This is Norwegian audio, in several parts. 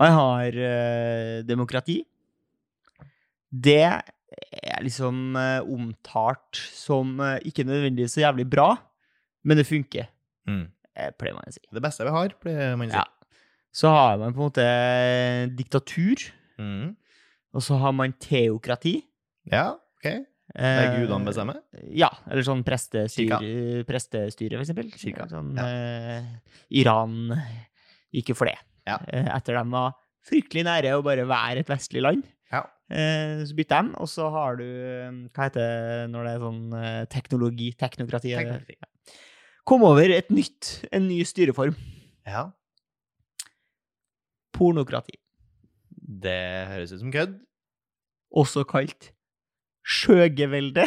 Man har eh, demokrati. Det er liksom eh, omtalt som eh, ikke nødvendigvis så jævlig bra, men det funker, Mm. eh, pleier man å si. Det beste vi har, pleier man å si. Ja. Så har man på en måte eh, diktatur, Mm. og så har man teokrati. Eh, ja ok. Det er gudene bestemmer. Ja, eller sånn prestestyr, Kirka. prestestyre, for eksempel. Kirka, Sånn, ja. eh, Iran gikk jo for det. Ja. Eh, etter de var fryktelig nære å bare være et vestlig land. Ja. Eh, så bytta de, og så har du eh, Hva heter det når det er sånn eh, teknologi, teknokrati? eh, Teknokrati. Kom over et nytt, en ny styreform. Ja. Pornokrati. Det høres ut som kødd. Også kalt skjøgevelde.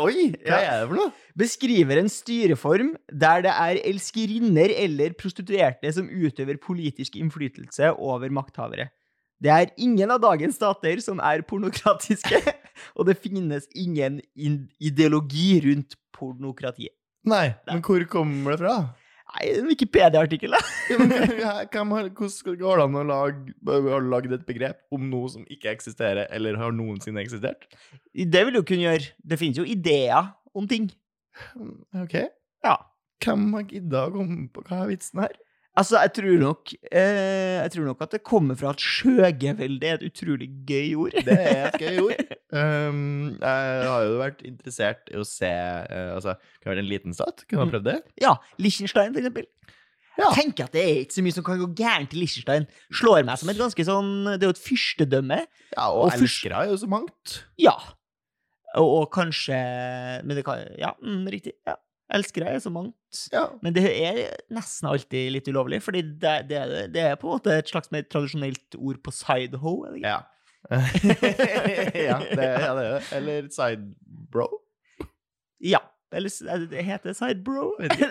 Oi, hva Ja. er det for noe? beskriver en styreform der det er elskerinner eller prostituerte som utøver politisk innflytelse over makthavere. Det er ingen av dagens stater som er pornokratiske, og det finnes ingen in- ideologi rundt pornokratiet. Nei, men hvor kommer det fra? Nei, en Wikipedia-artikkel, da! Ja, men hva- hvem har- Hvordan går det an å lage, har du laget et begrep om noe som ikke eksisterer, eller har noensinne eksistert? Det vil du kunne gjøre. Det finnes jo ideer om ting. Ok. Ja. Hvem har gidda å komme på hva er vitsen her? Altså, jeg tror nok, eh, jeg tror nok at det kommer fra at skjøgevelde er et utrolig gøy ord. Det er et gøy ord. Um, jeg har jo vært interessert i å se uh, Altså, kunne vært en liten stat, kunne ha prøvd det. Ja, Liechtenstein, for eksempel. Ja. Jeg tenker at det er ikke så mye som kan gå gærent i Liechtenstein. Slår meg som et ganske sånn Det er jo et fyrstedømme. Ja, og, Og først- elskere er jo så mangt. Ja. Og, og kanskje Men det kan Ja, mm, riktig. Ja. Elskere er så mangt. Ja. Men det er nesten alltid litt ulovlig, fordi det, det, er- det er på en måte et slags mer tradisjonelt ord på sideho. er det ikke? Ja. ja, det, ja, det er det. Eller sidebro. ja. Eller s- er det- det heter sidebro.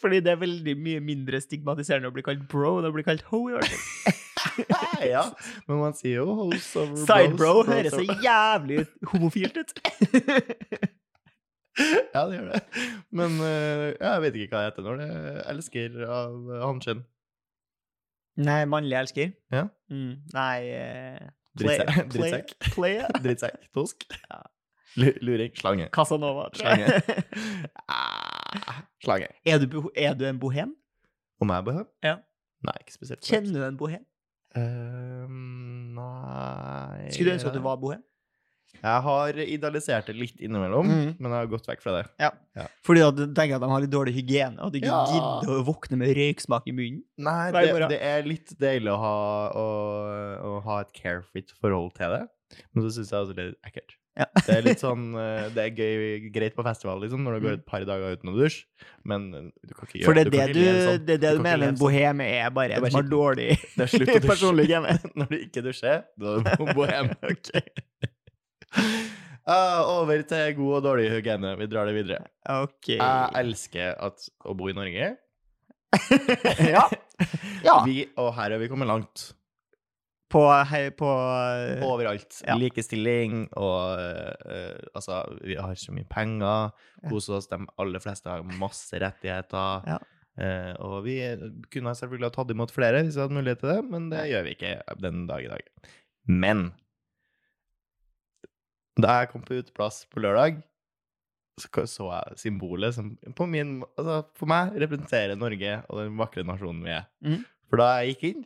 Fordi det er veldig mye mindre stigmatiserende å bli kalt bro enn å bli kalt ho. i hvert fall. ja, men man sier jo hoes over bros. Sidebro bros høres så over- jævlig homofilt ut. Ja, det gjør det. Men eh, ja, jeg vet ikke hva det heter når det er elsker av eh, hanskjønn. Nei, mannlig elsker. Ja. Mm, nei eh, Drittsekk. play, Drittsekk. play, Drittsekk. Tosk. Ja. Lu- Luring. Slange. Casanova. tror jeg. Ah. Slange. er, du, bo- er du en bohem? Om jeg behøver? Ja. Nei, ikke spesielt. Kjenner du en bohem? Eh, nei Skulle du ønske at du var bohem? Jeg har idealisert det litt innimellom, Mhm. men jeg har gått vekk fra det. Fordi at du tenker at de har litt dårlig hygiene, og at du ikke Ja. gidder å våkne med røyksmak i munnen. Nei, Hver det, morgen. det er litt deilig å ha, å, å ha et carefit forhold til det. Men så syns jeg også det er litt ekkelt. Ja. Det er litt sånn eh, Det er gøy, greit på festival liksom, når det går et par dager uten å dusje, men eh, du kan ikke gjøre Mm. For det er kan det ikke du, leve sånn. det er det du kan ikke mener en leve sånn. bohem er, bare Det er en bare som har skitten. dårlig Det er slutt å dusje. personlig hygiene. Når du ikke dusjer, da er du bohem. Ok. Ah, over til god og dårlig hygiene. Vi drar det videre. Ok. Jeg elsker at, å bo i Norge. ja. ja. eh, Vi, og her har vi kommet langt. På, hei, på Overalt. Eh, Ja. Likestilling og eh, Altså, vi har så mye penger. Ja. Koser oss. De aller fleste har masse rettigheter. Ja. Eh, og vi kunne selvfølgelig ha tatt imot flere hvis vi hadde mulighet til det, men det gjør vi ikke den dag i dag. Men da jeg kom på uteplass på lørdag, så k- så jeg symbolet som på min, altså for meg representerer Norge og den vakre nasjonen vi er. Mhm. For da jeg gikk inn,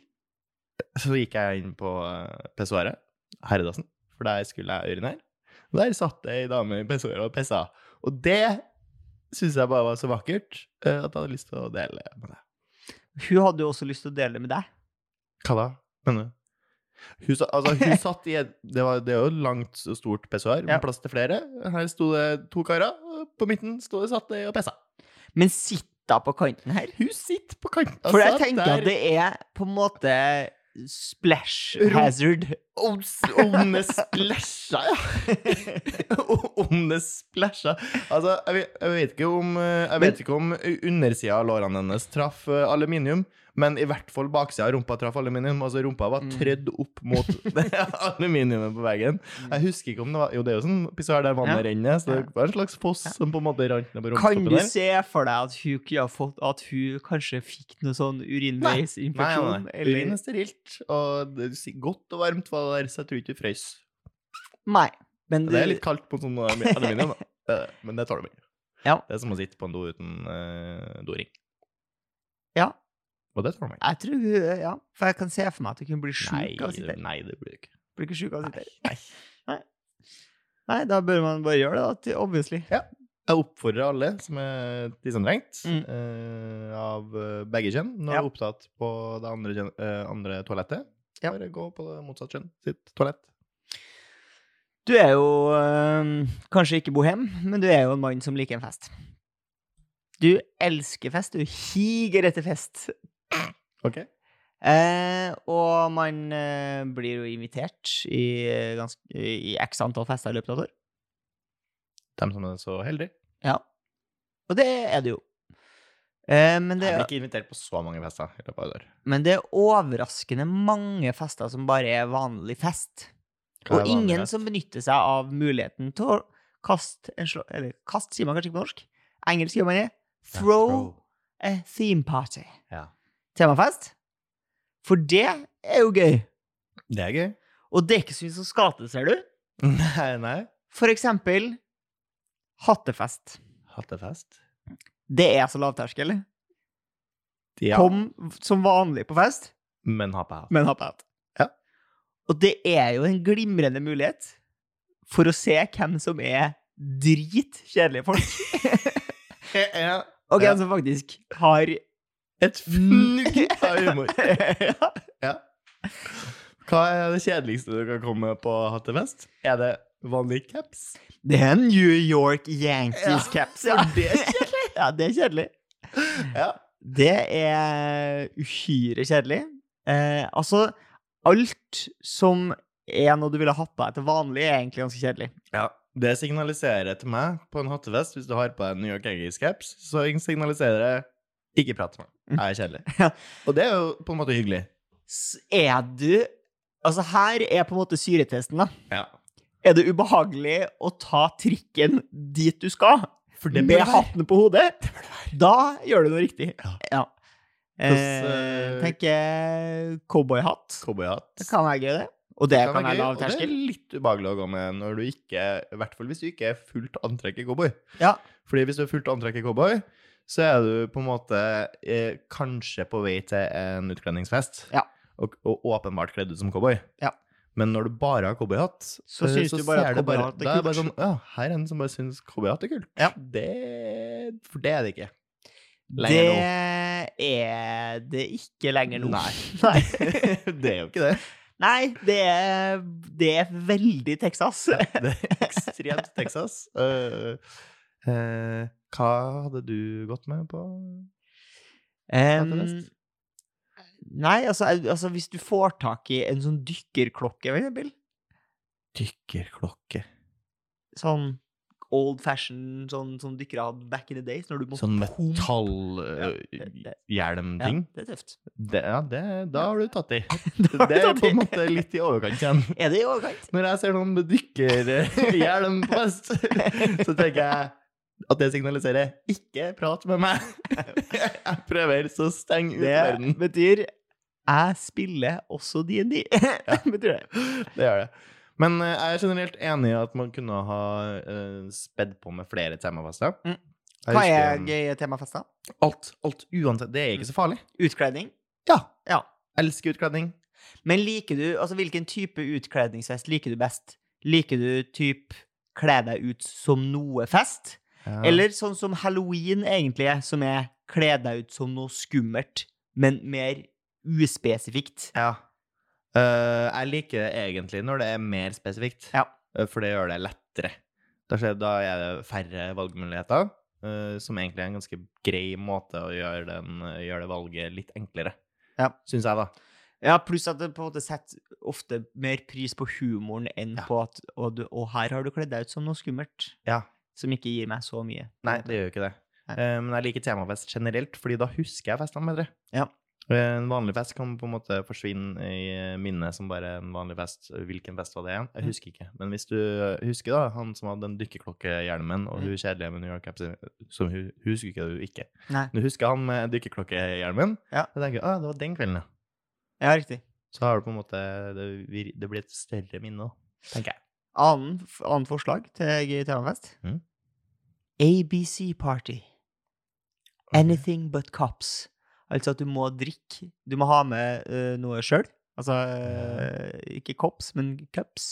så gikk jeg inn på eh, pissoaret, herredassen, for der skulle jeg urinere. Og der satt det ei dame i pissoaret og pissa. Og det syns jeg bare var så vakkert eh, at jeg hadde lyst til å dele med deg. Hun hadde jo også lyst til å dele det med deg. Hva da? Mener du? Hun, sa- altså, hun satt i et det, var, det er jo et langt og stort pissoar med Ja. plass til flere. Her sto det to karer, og på midten sto det satt ei og pissa. Men sitt da på kanten her. Hun sitter på kanten For jeg tenker at det er på en måte splash Ro- hazard. Om, om det splæsja, ja! om det splæsja. Altså, jeg, vet- jeg vet ikke om, eh, jeg vet ikke om undersida av lårene hennes traff eh, aluminium, Men i hvert fall baksida av rumpa traff aluminium. Altså rumpa var Mm. trødd opp mot aluminiumet på veggen. Jeg husker ikke om det var Jo, det er jo sånn pissoar der vannet renner, så det var en slags foss som på en måte rant ned på Kan rumpetoppen du der. se for deg at hun, kunne ha fått, at hun kanskje fikk noe sånn Nei, nei, urinveisinfeksjon? nei. Eller Urin er sterilt, og det er si- godt og varmt var det der, så jeg tror ikke det frøs. Nei. Men Det er du- litt kaldt på sånn aluminium, da. Eh, Men det tar du med. Ja. Det er som å sitte på en do uten eh, doring. Ja. Og det tar du med. Jeg tror hun Ja, for jeg kan se for meg at hun kunne bli Nei, sjuk av å sitte her. nei, det blir det ikke. Blir ikke syk av å sitte her. Nei, nei. Nei, da bør man bare gjøre det, da. til- Obviously. Jeg oppfordrer alle som er tissenrengt Mm. eh, av eh, begge kjønn, når Ja. du er opptatt på det andre, kjønn, eh, andre toalettet, Ja. bare gå på det motsatt kjønn sitt toalett. Du er jo øhm, kanskje ikke bohem, men du er jo en mann som liker en fest. Du elsker fest. Du higer etter fest. Ok. Eh, og man eh, blir jo invitert i, eh, ganske, i x antall fester i løpet av et år. De som er så heldige. Ja. Og det er du jo. Eh, men, det, Jeg blir ikke invitert på så mange fester i løpet av et år. men det er overraskende mange fester som bare er vanlig fest. Hva er Og vanlig ingen fest? som benytter seg av muligheten til å kaste en slå... Eller kast sier man kanskje ikke på norsk. Engelsk gjør man det. Ja, Throw a theme party. Ja. Temafest. For det er jo gøy. Det er gøy. Og det er ikke så mye som skal til, ser du. Nei, nei. For eksempel hattefest. Hattefest. Det er så lavterskel. Ja. Kom som vanlig på fest, Men ha på hatt. men ha på hatt. Ja. Og det er jo en glimrende mulighet for å se hvem som er dritkjedelige folk. Ja. Og Ja. hvem som faktisk har Et fnugg av humor. ja. Hva er det kjedeligste du kan komme på hattefest? Er det vanlig caps? Det er en New York Yankees-caps, ja. Det er kjedelig. ja. Det er kjedelig. Ja. Det er uhyre kjedelig. Eh, altså, alt som er noe du ville hatt på deg til vanlig, er egentlig ganske kjedelig. Ja, det signaliserer til meg på en hattefest, hvis du har på deg New York Yankees-caps, så signaliserer det ikke prat med meg. Jeg Ja. er kjedelig. Og det er jo på en måte hyggelig. S- Er du Altså, her er på en måte syretesten, da. Ja. Er det ubehagelig å ta trikken dit du skal, For det med bør være. hatten på hodet? Da gjør du noe riktig. Ja. Eh, Hvordan, eh, tenker cowboyhatt. Cowboyhatt. Det kan være gøy, det. Og det Det kan være gøy, lav og Det terskel. er litt ubehagelig å gå med når du ikke, i hvert fall hvis du ikke er fullt antrekk i cowboy. Ja. Fordi hvis du er fullt antrekk i cowboy, så er du på en måte eh, kanskje på vei til en utkledningsfest. Ja. Og, og åpenbart kledd ut som cowboy. Ja. Men når du bare har cowboyhatt, Så eh, synes du bare ser at cowboyhatt er da det bare sånn, kult. ja, her er en som bare syns cowboyhatt er kult. Ja. Det, for det er det ikke. det Lenger er det ikke lenger nå. Nei. Nei. det er jo ikke det. Nei, det er, det er veldig Texas. Det er ekstremt Texas. Eh, eh, hva hadde du gått med på? Em, Hattefest? nei, altså, au- altså hvis du får tak i en sånn dykkerklokke, for eksempel, Dykkerklokke. sånn old fashion, sånn som dykkere hadde back in the days, når du måtte Sånn pumpe- eh, det- metallhjelmting. Ja, det er tøft. Det, ja, det, da har du tatt i. Da har du Det er tatt på i. en måte litt i overkant igjen. Er det i overkant? Når jeg ser noen med dykkerhjelm på vest, så tenker jeg at det signaliserer 'ikke prat med meg'. Jeg prøver så å stenge ut Det verden. betyr jeg spiller også D&D. betyr det. Det gjør det. Men eh, jeg er generelt enig i at man kunne ha eh, spedd på med flere temafester. Mm. Jeg Hva husker, er um, gøye temafester? Alt, alt uansett. Det er ikke så farlig. Utkledning. Ja. Ja. Elsker utkledning. Men liker du, altså hvilken type utkledningsfest liker du best? Liker du typ kle deg ut som noe fest? Ja. Eller sånn som halloween egentlig er, som er kle deg ut som noe skummelt, men mer uspesifikt? Ja. Eh, jeg liker det egentlig når det er mer spesifikt, Ja. Eh, for det gjør det lettere. Da, skjer, da er det færre valgmuligheter, eh, som egentlig er en ganske grei måte å gjøre, den, eh, gjøre det valget litt enklere. Ja. Syns jeg, da. Ja, pluss at det på en måte setter ofte mer pris på humoren enn Ja. på at å, du, å, her har du kledd deg ut som noe skummelt. Ja. Som ikke gir meg så mye. Nei, det gjør jo ikke det. Nei. Eh, men jeg liker temafest generelt, fordi da husker jeg festene bedre. Ja. En vanlig fest kan på en måte forsvinne i minnet som bare en vanlig fest. Hvilken fest var det igjen? Jeg husker ikke. Men hvis du husker da, han som hadde den dykkerklokkehjelmen, og hun kjedelige med New York-capsen, som hun hun husker ikke du ikke. Nei. Du husker han med dykkerklokkehjelmen, Ja. og tenker, ah, det var den kvelden, ja. Ja, riktig. Så har du på en måte, det, vir- det blir et større minne da, tenker jeg. Annen, f- annet forslag til GTA-fest? Mhm. ABC Party. Anything but cops. Altså at du må drikke. Du må ha med eh, noe sjøl. Altså eh, ikke cops, men cups.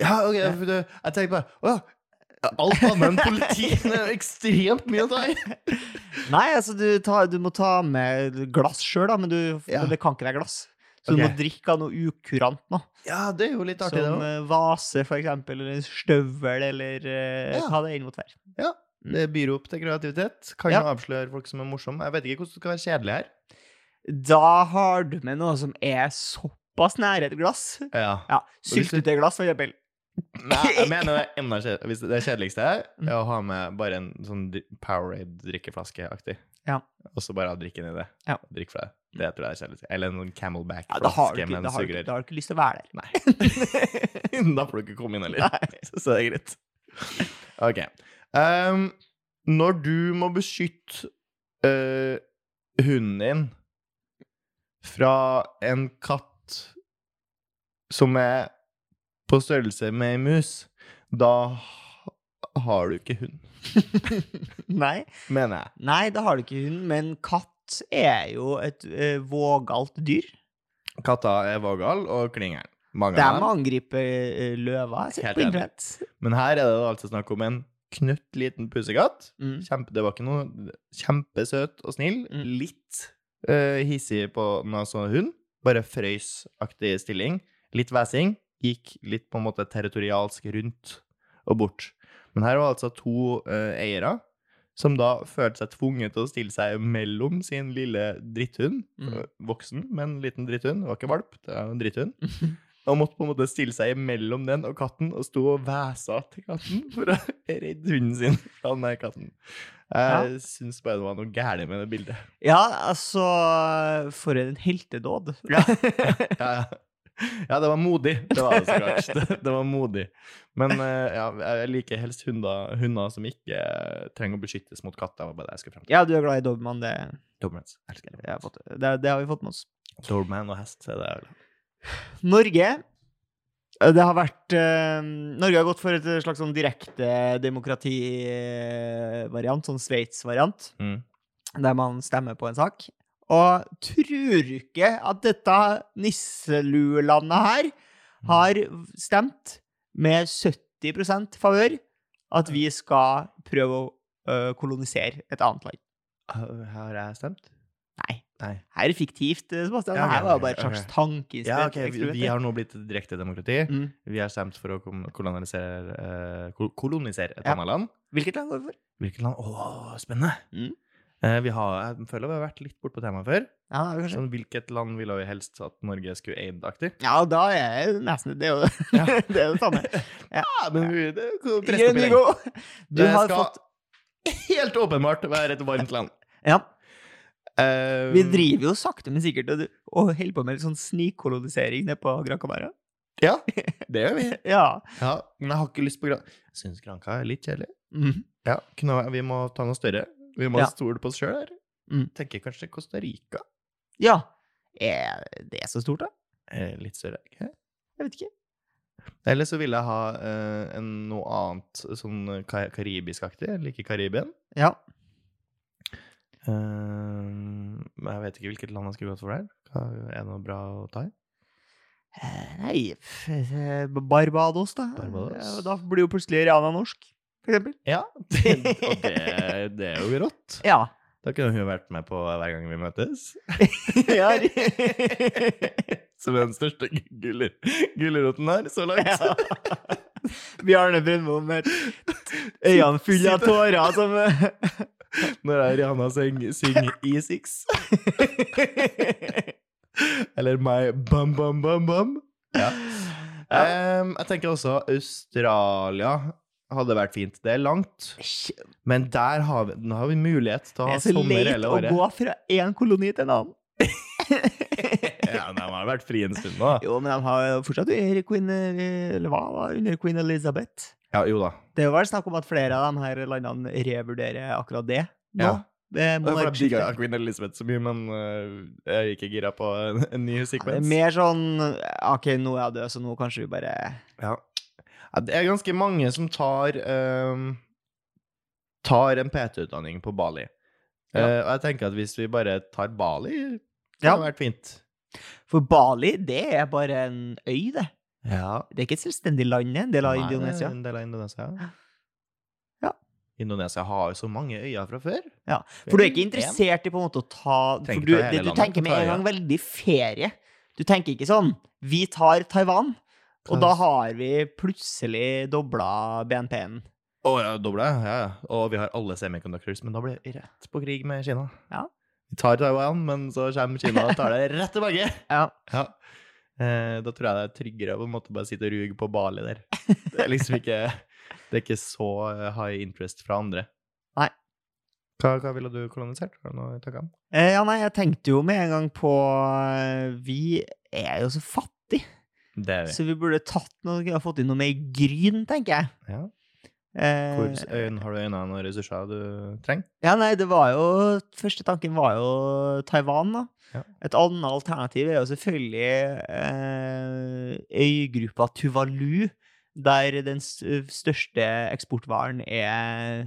Ja, ok, for det, jeg tenkte bare, åh, alt annet enn politi, det er jo ekstremt mye å ta i. Nei, altså du, tar- du må ta med glass sjøl, da, men du, Ja. det kan ikke være glass. Så du Ok. må drikke av noe ukurant nå. Ja, det er jo litt artig det Som også. eh, vase, for eksempel, eller en støvel, eller eh, Ja. ta det inn mot vær. Det byr opp til kreativitet. Kan Ja. jo avsløre folk som er morsomme. Jeg vet ikke hvordan du skal være kjedelig her. Da har du med noe som er såpass nære et glass. Ja. Ja, hvis du- Syltetøyglass, for eksempel. Nei, jeg mener det er enda kjedelig. Hvis det kjedeligste her Mm. er å ha med bare en sånn dri- Powerade-drikkeflaske-aktig. Ja. Og så bare ha drikken i det. Ja. Drikk fra det. Det tror jeg er kjedelig. Eller en sånn Ja, da har, du Camelback-flaske ikke, med da, en har du, ikke- sugerør. da har du ikke lyst til å være der. da får du ikke komme inn heller. Så det er greit. Ok. Ehm, når du må beskytte eh, hunden din fra en katt som er på størrelse med ei mus, da ha- har du ikke hund, Nei. mener jeg. Nei, da har du ikke hund, men katt er jo et eh, vågalt dyr. Katter er vågal og klingeren. Mange De av dem. angriper eh, løver jeg har sett Helt på enig. internett. Men her er det da altså snakk om en knøttliten pusekatt. Mm. Kjempe, det var ikke noe kjempesøt og snill. Mm. Litt eh, hissig på den, altså hund. Bare frøysaktig stilling. Litt hvesing. Gikk litt på en måte territorialsk rundt og bort. Men her var altså to eh, eiere som da følte seg tvunget til å stille seg mellom sin lille dritthund, Mm. eh, voksen, men liten dritthund, det var ikke valp, det var en dritthund, og måtte på en måte stille seg mellom den og katten, og stå og væsa til katten for å redde hunden sin fra den der katten. Jeg syns bare det var noe gærent med det bildet. Ja, altså For en heltedåd. Ja, ja. ja, det var modig, det var det så klart. Det, det var modig. Men eh, ja, jeg liker helst hunder, hunder som ikke trenger å beskyttes mot katter. Det var bare det jeg skulle frem til. Ja, du er glad i Dobermann, det, Dobermans. Elsker det, har jeg fått- det, det har vi fått med oss. Doberman og hest, det er det. Norge eh, det har vært eh, Norge har gått for et slags sånn direkte demokrativariant, sånn Sveits-variant, Mm. der man stemmer på en sak. Og tror du ikke at dette nisseluelandet her har stemt med 70 favør at vi skal prøve å eh, kolonisere et annet land? Har jeg stemt? Nei. Nei. Her er det fiktivt, eh, Sebastian. Ja, ok, Her var jo bare ok, et slags ok. Ja, ok, vi, tankeeksperiment. vi har nå blitt et direkte demokrati. mm. Vi har stemt for å kom- kolonisere, eh, kol- kolonisere et Ja. annet land. Hvilket land går vi for? Hvilket land? Åh, spennende! Mm. Eh, vi har, jeg føler vi har vært litt bort på temaet før. Ja, det er kanskje Sånn, hvilket land ville vi helst at Norge skulle eid-aktig? Ja, da er jeg nesten Det er jo Ja. det, er jo det samme. Ja, men vi, det er jo presset Here opp i we lenge. go. Du Det har skal fått helt åpenbart være et varmt land. Ja, Eh, vi driver jo sakte, men sikkert og, og holder på med litt sånn snikkolonisering nede på Gran Canaria. Ja, det gjør vi. Ja. Ja, men jeg har ikke lyst på Gran... Jeg syns Granca er litt kjedelig. Mhm. Ja, kunne, vi må ta noe større. Vi må Ja. stole på oss sjøl her. Mm. Tenker kanskje Costa Rica ja. Er det så stort, da? er litt større. ikke? Jeg vet ikke. Eller så vil jeg ha eh, en, noe annet sånn ka karibisk-aktig. Jeg liker Karibien. Ja. Eh, men Ehm, jeg vet ikke hvilket land jeg skulle gått for der. Hva- Er det noe bra å ta i? Eh, Nei f- eh, Barbados, da. Barbados. Ja, og da blir jo plutselig Rihanna norsk, for eksempel. Ja, det, og det, det er jo rått. Ja. Da kunne hun vært med på hver gang vi møtes. ja. Som er den største guller- gulroten her så langt. Ja. Bjarne Brunmo med øynene fulle av tårer altså. som eh, Når det er Rihanna syng, syng E6. Eller My Bum Bum Bum Bum. Ja. Em, jeg tenker også Australia hadde vært fint. Det er langt, Det men der har vi, nå har vi mulighet til å ha er så sommer leit hele å året. gå fra én koloni til en annen. Ja, men han har vært fri en stund nå. Jo, men de har jo fortsatt under queen, eh, eller hva var det, under queen Elizabeth. Ja, jo da. Det er jo vel snakk om at flere av de her landene revurderer akkurat det nå. Ja. Det Det er fordi jeg monarkiskiftet. digga Queen Elizabeth så mye, men øh, jeg er ikke gira på en, en ny Ja, det er sekvens. mer sånn OK, nå er jeg død, så nå kanskje vi bare Ja. Ja, Det er ganske mange som tar ehm, Tar en PT-utdanning på Bali. Ja. Eh, og jeg tenker at hvis vi bare tar Bali, det Ja. hadde vært fint. For Bali, det er bare en øy, det. Ja. Det er ikke et selvstendig land, det er en del av Nei, Indonesia. En del av Indonesia. Ja. Indonesia har jo så mange øyer fra før. Ja, For du er ikke En. interessert i på en måte å ta Tenker for du, ta hele det, du landet, tenker ta med en øya. gang veldig ferie. Du tenker ikke sånn Vi tar Taiwan, og da har vi plutselig dobla BNP-en. Å ja, dobla, ja. ja. Og vi har alle semiconductors, men da blir det rett på krig med Kina. Ja. Vi tar Taiwan, men så kommer Kina og tar det rett tilbake. Ja. Ja. Eh, da tror jeg det er tryggere å på en måte bare sitte og ruge på Bali der. Det er liksom ikke Det er ikke så eh, high interest fra andre. Nei. Hva, hva ville du kolonisert? Har du noe i tankene? Eh, ja, nei, jeg tenkte jo med en gang på eh, Vi er jo så fattige, Det er vi. så vi burde tatt noe, kunne ha fått inn noe mer gryn, tenker jeg. Ja. Eh, Hvor s- øyn, har du øyne og ressurser du trenger? Ja, nei, det var jo Første tanken var jo Taiwan, da. Ja. Et annet alternativ er jo selvfølgelig eh, øygruppa Tuvalu, der den s- eh, største eksportvaren er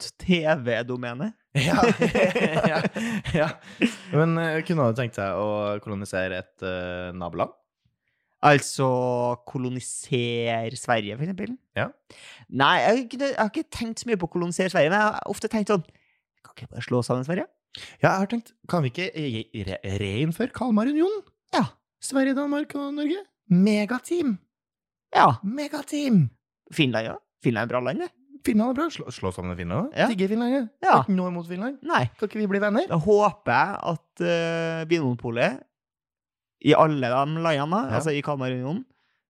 .tv-domenet. Ja. ja. ja. Men eh, kunne du tenkt deg å kolonisere et eh, naboland? Altså kolonisere Sverige, for eksempel. Ja. Nei, jeg, har ikke- jeg har ikke tenkt så mye på kolonisere Sverige, men jeg har ofte tenkt sånn Kan ikke vi bare slå sammen Sverige? Ja, jeg har tenkt, kan vi ikke re- re- reinnføre Kalmarunionen? Ja. Sverige, Danmark og Norge? Megateam! Ja. Megateam! Finland, ja. Finland er et bra land, det. Finland er bra. Slå, slå sammen med Finland. Ja. Ja. Digge Finland. Ja. Ja. Ikke noe imot Finland. Nei. Kan ikke vi bli venner? Da håper jeg at uh, Vinmonopolet i alle de landene, Ja. Mhm. altså i Kalmarunionen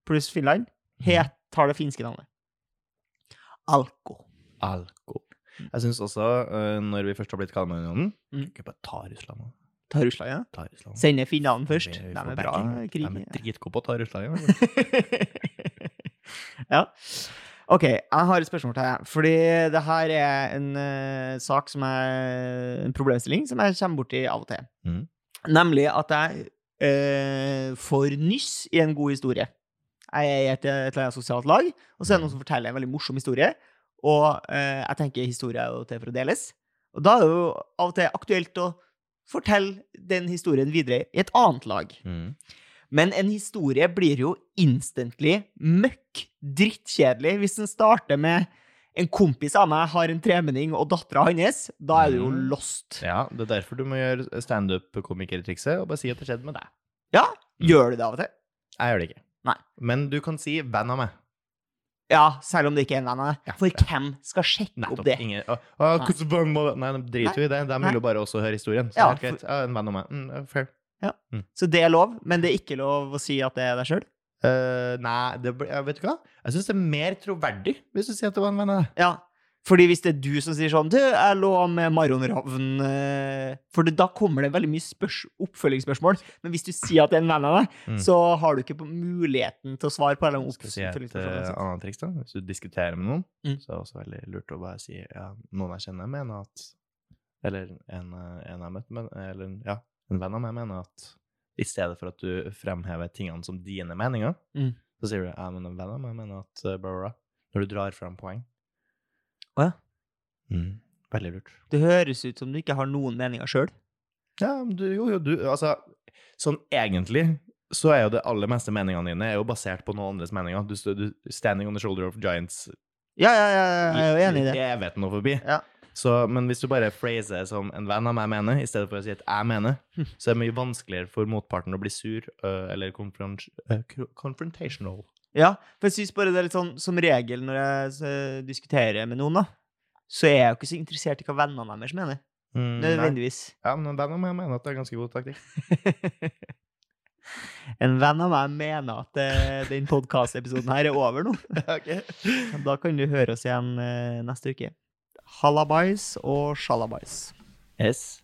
pluss Finland, het, tar det finske navnet. Alko. Alko. Jeg syns også, eh, når vi først har blitt Kalmarunionen Mm. Kan ikke bare ta Russland òg. Ta Russland, ja. Ta Russland. Sender finnene først. Vi De får er bra backing. krig. De er dritgode på å ta Russland. ja. ja. Ok, jeg har et spørsmål til deg. Fordi det her er en eh, sak som er en problemstilling som jeg kommer borti av og til. Mhm. Nemlig at jeg eh, får nyss i en god historie. Jeg er i et, et eller annet sosialt lag, og så er det noen som forteller en veldig morsom historie. Og eh, jeg tenker historier er jo til for å deles. Og da er det jo av og til aktuelt å fortelle den historien videre i et annet lag. Mm. Men en historie blir jo instantly møkk drittkjedelig hvis den starter med en kompis av meg har en tremenning og dattera hans. Da er du jo Mm. lost. Ja, det er derfor du må gjøre standup-komikertrikset og bare si at det skjedde med deg. Ja, Mm. gjør du det av og til? Jeg gjør det ikke. Nei. Men du kan si 'venn av meg'. Ja, selv om det ikke er en venn av Ja, deg. For ja. hvem skal sjekke Nettopp. opp det? Ingen, å, å, Nei. hvordan venn må det- Nei, de driter jo i det. Nei. De vil jo bare også høre historien. Så Ja, det er helt greit. Ja, en venn av meg. Mm, ja, fair. Så det er lov, men det er ikke lov å si at det er deg sjøl? Eh, nei, det, blir- ja, vet du hva? Jeg syns det er mer troverdig hvis du sier at det var en venn av deg. Ja. Fordi hvis det er du som sier sånn Du, jeg lå med Marion Ravn eh», For det, da kommer det veldig mye spørs, oppfølgingsspørsmål. Men hvis du sier at det er en venn av deg, Mm. så har du ikke på muligheten til å svare på alle de Skal vi si et eh, oppfølgingsspørsmålene. annet triks, da? Hvis du diskuterer med noen, Mm. så er det også veldig lurt å bare si ja, noen jeg kjenner, mener at Eller en, eh, en jeg har møtt, men, eller ja, en venn av meg mener at I stedet for at du fremhever tingene som dine meninger, Mm. så sier du ja, men en venn av meg mener at eh, bla, bla, bla. Når du drar fram poeng. Å ja. Mm. Veldig lurt. Det høres ut som du ikke har noen meninger sjøl. Ja, men du, jo, jo, du, altså Sånn egentlig så er jo det aller meste meningene dine er jo basert på noen andres meninger. Du, stø- du Standing on the shoulder of giants Ja, ja, ja, jeg er jo enig i det. evigheten og forbi. Ja. Så, men hvis du bare phraser som en venn av meg mener, i stedet for å si at jeg mener, så er det mye vanskeligere for motparten å bli sur øh, eller konfront, øh, kro- confrontational. Ja, for jeg synes bare det er litt sånn Som regel når jeg eh, diskuterer med noen, da, så er jeg jo ikke så interessert i hva vennene deres mener. Mm, nei. Nødvendigvis. ja, men en venn av meg mener at det er ganske god taktikk. En venn av meg mener at eh, den podkastepisoden her er over nå. Da kan du høre oss igjen eh, neste uke. Hallabais og sjalabais. Yes.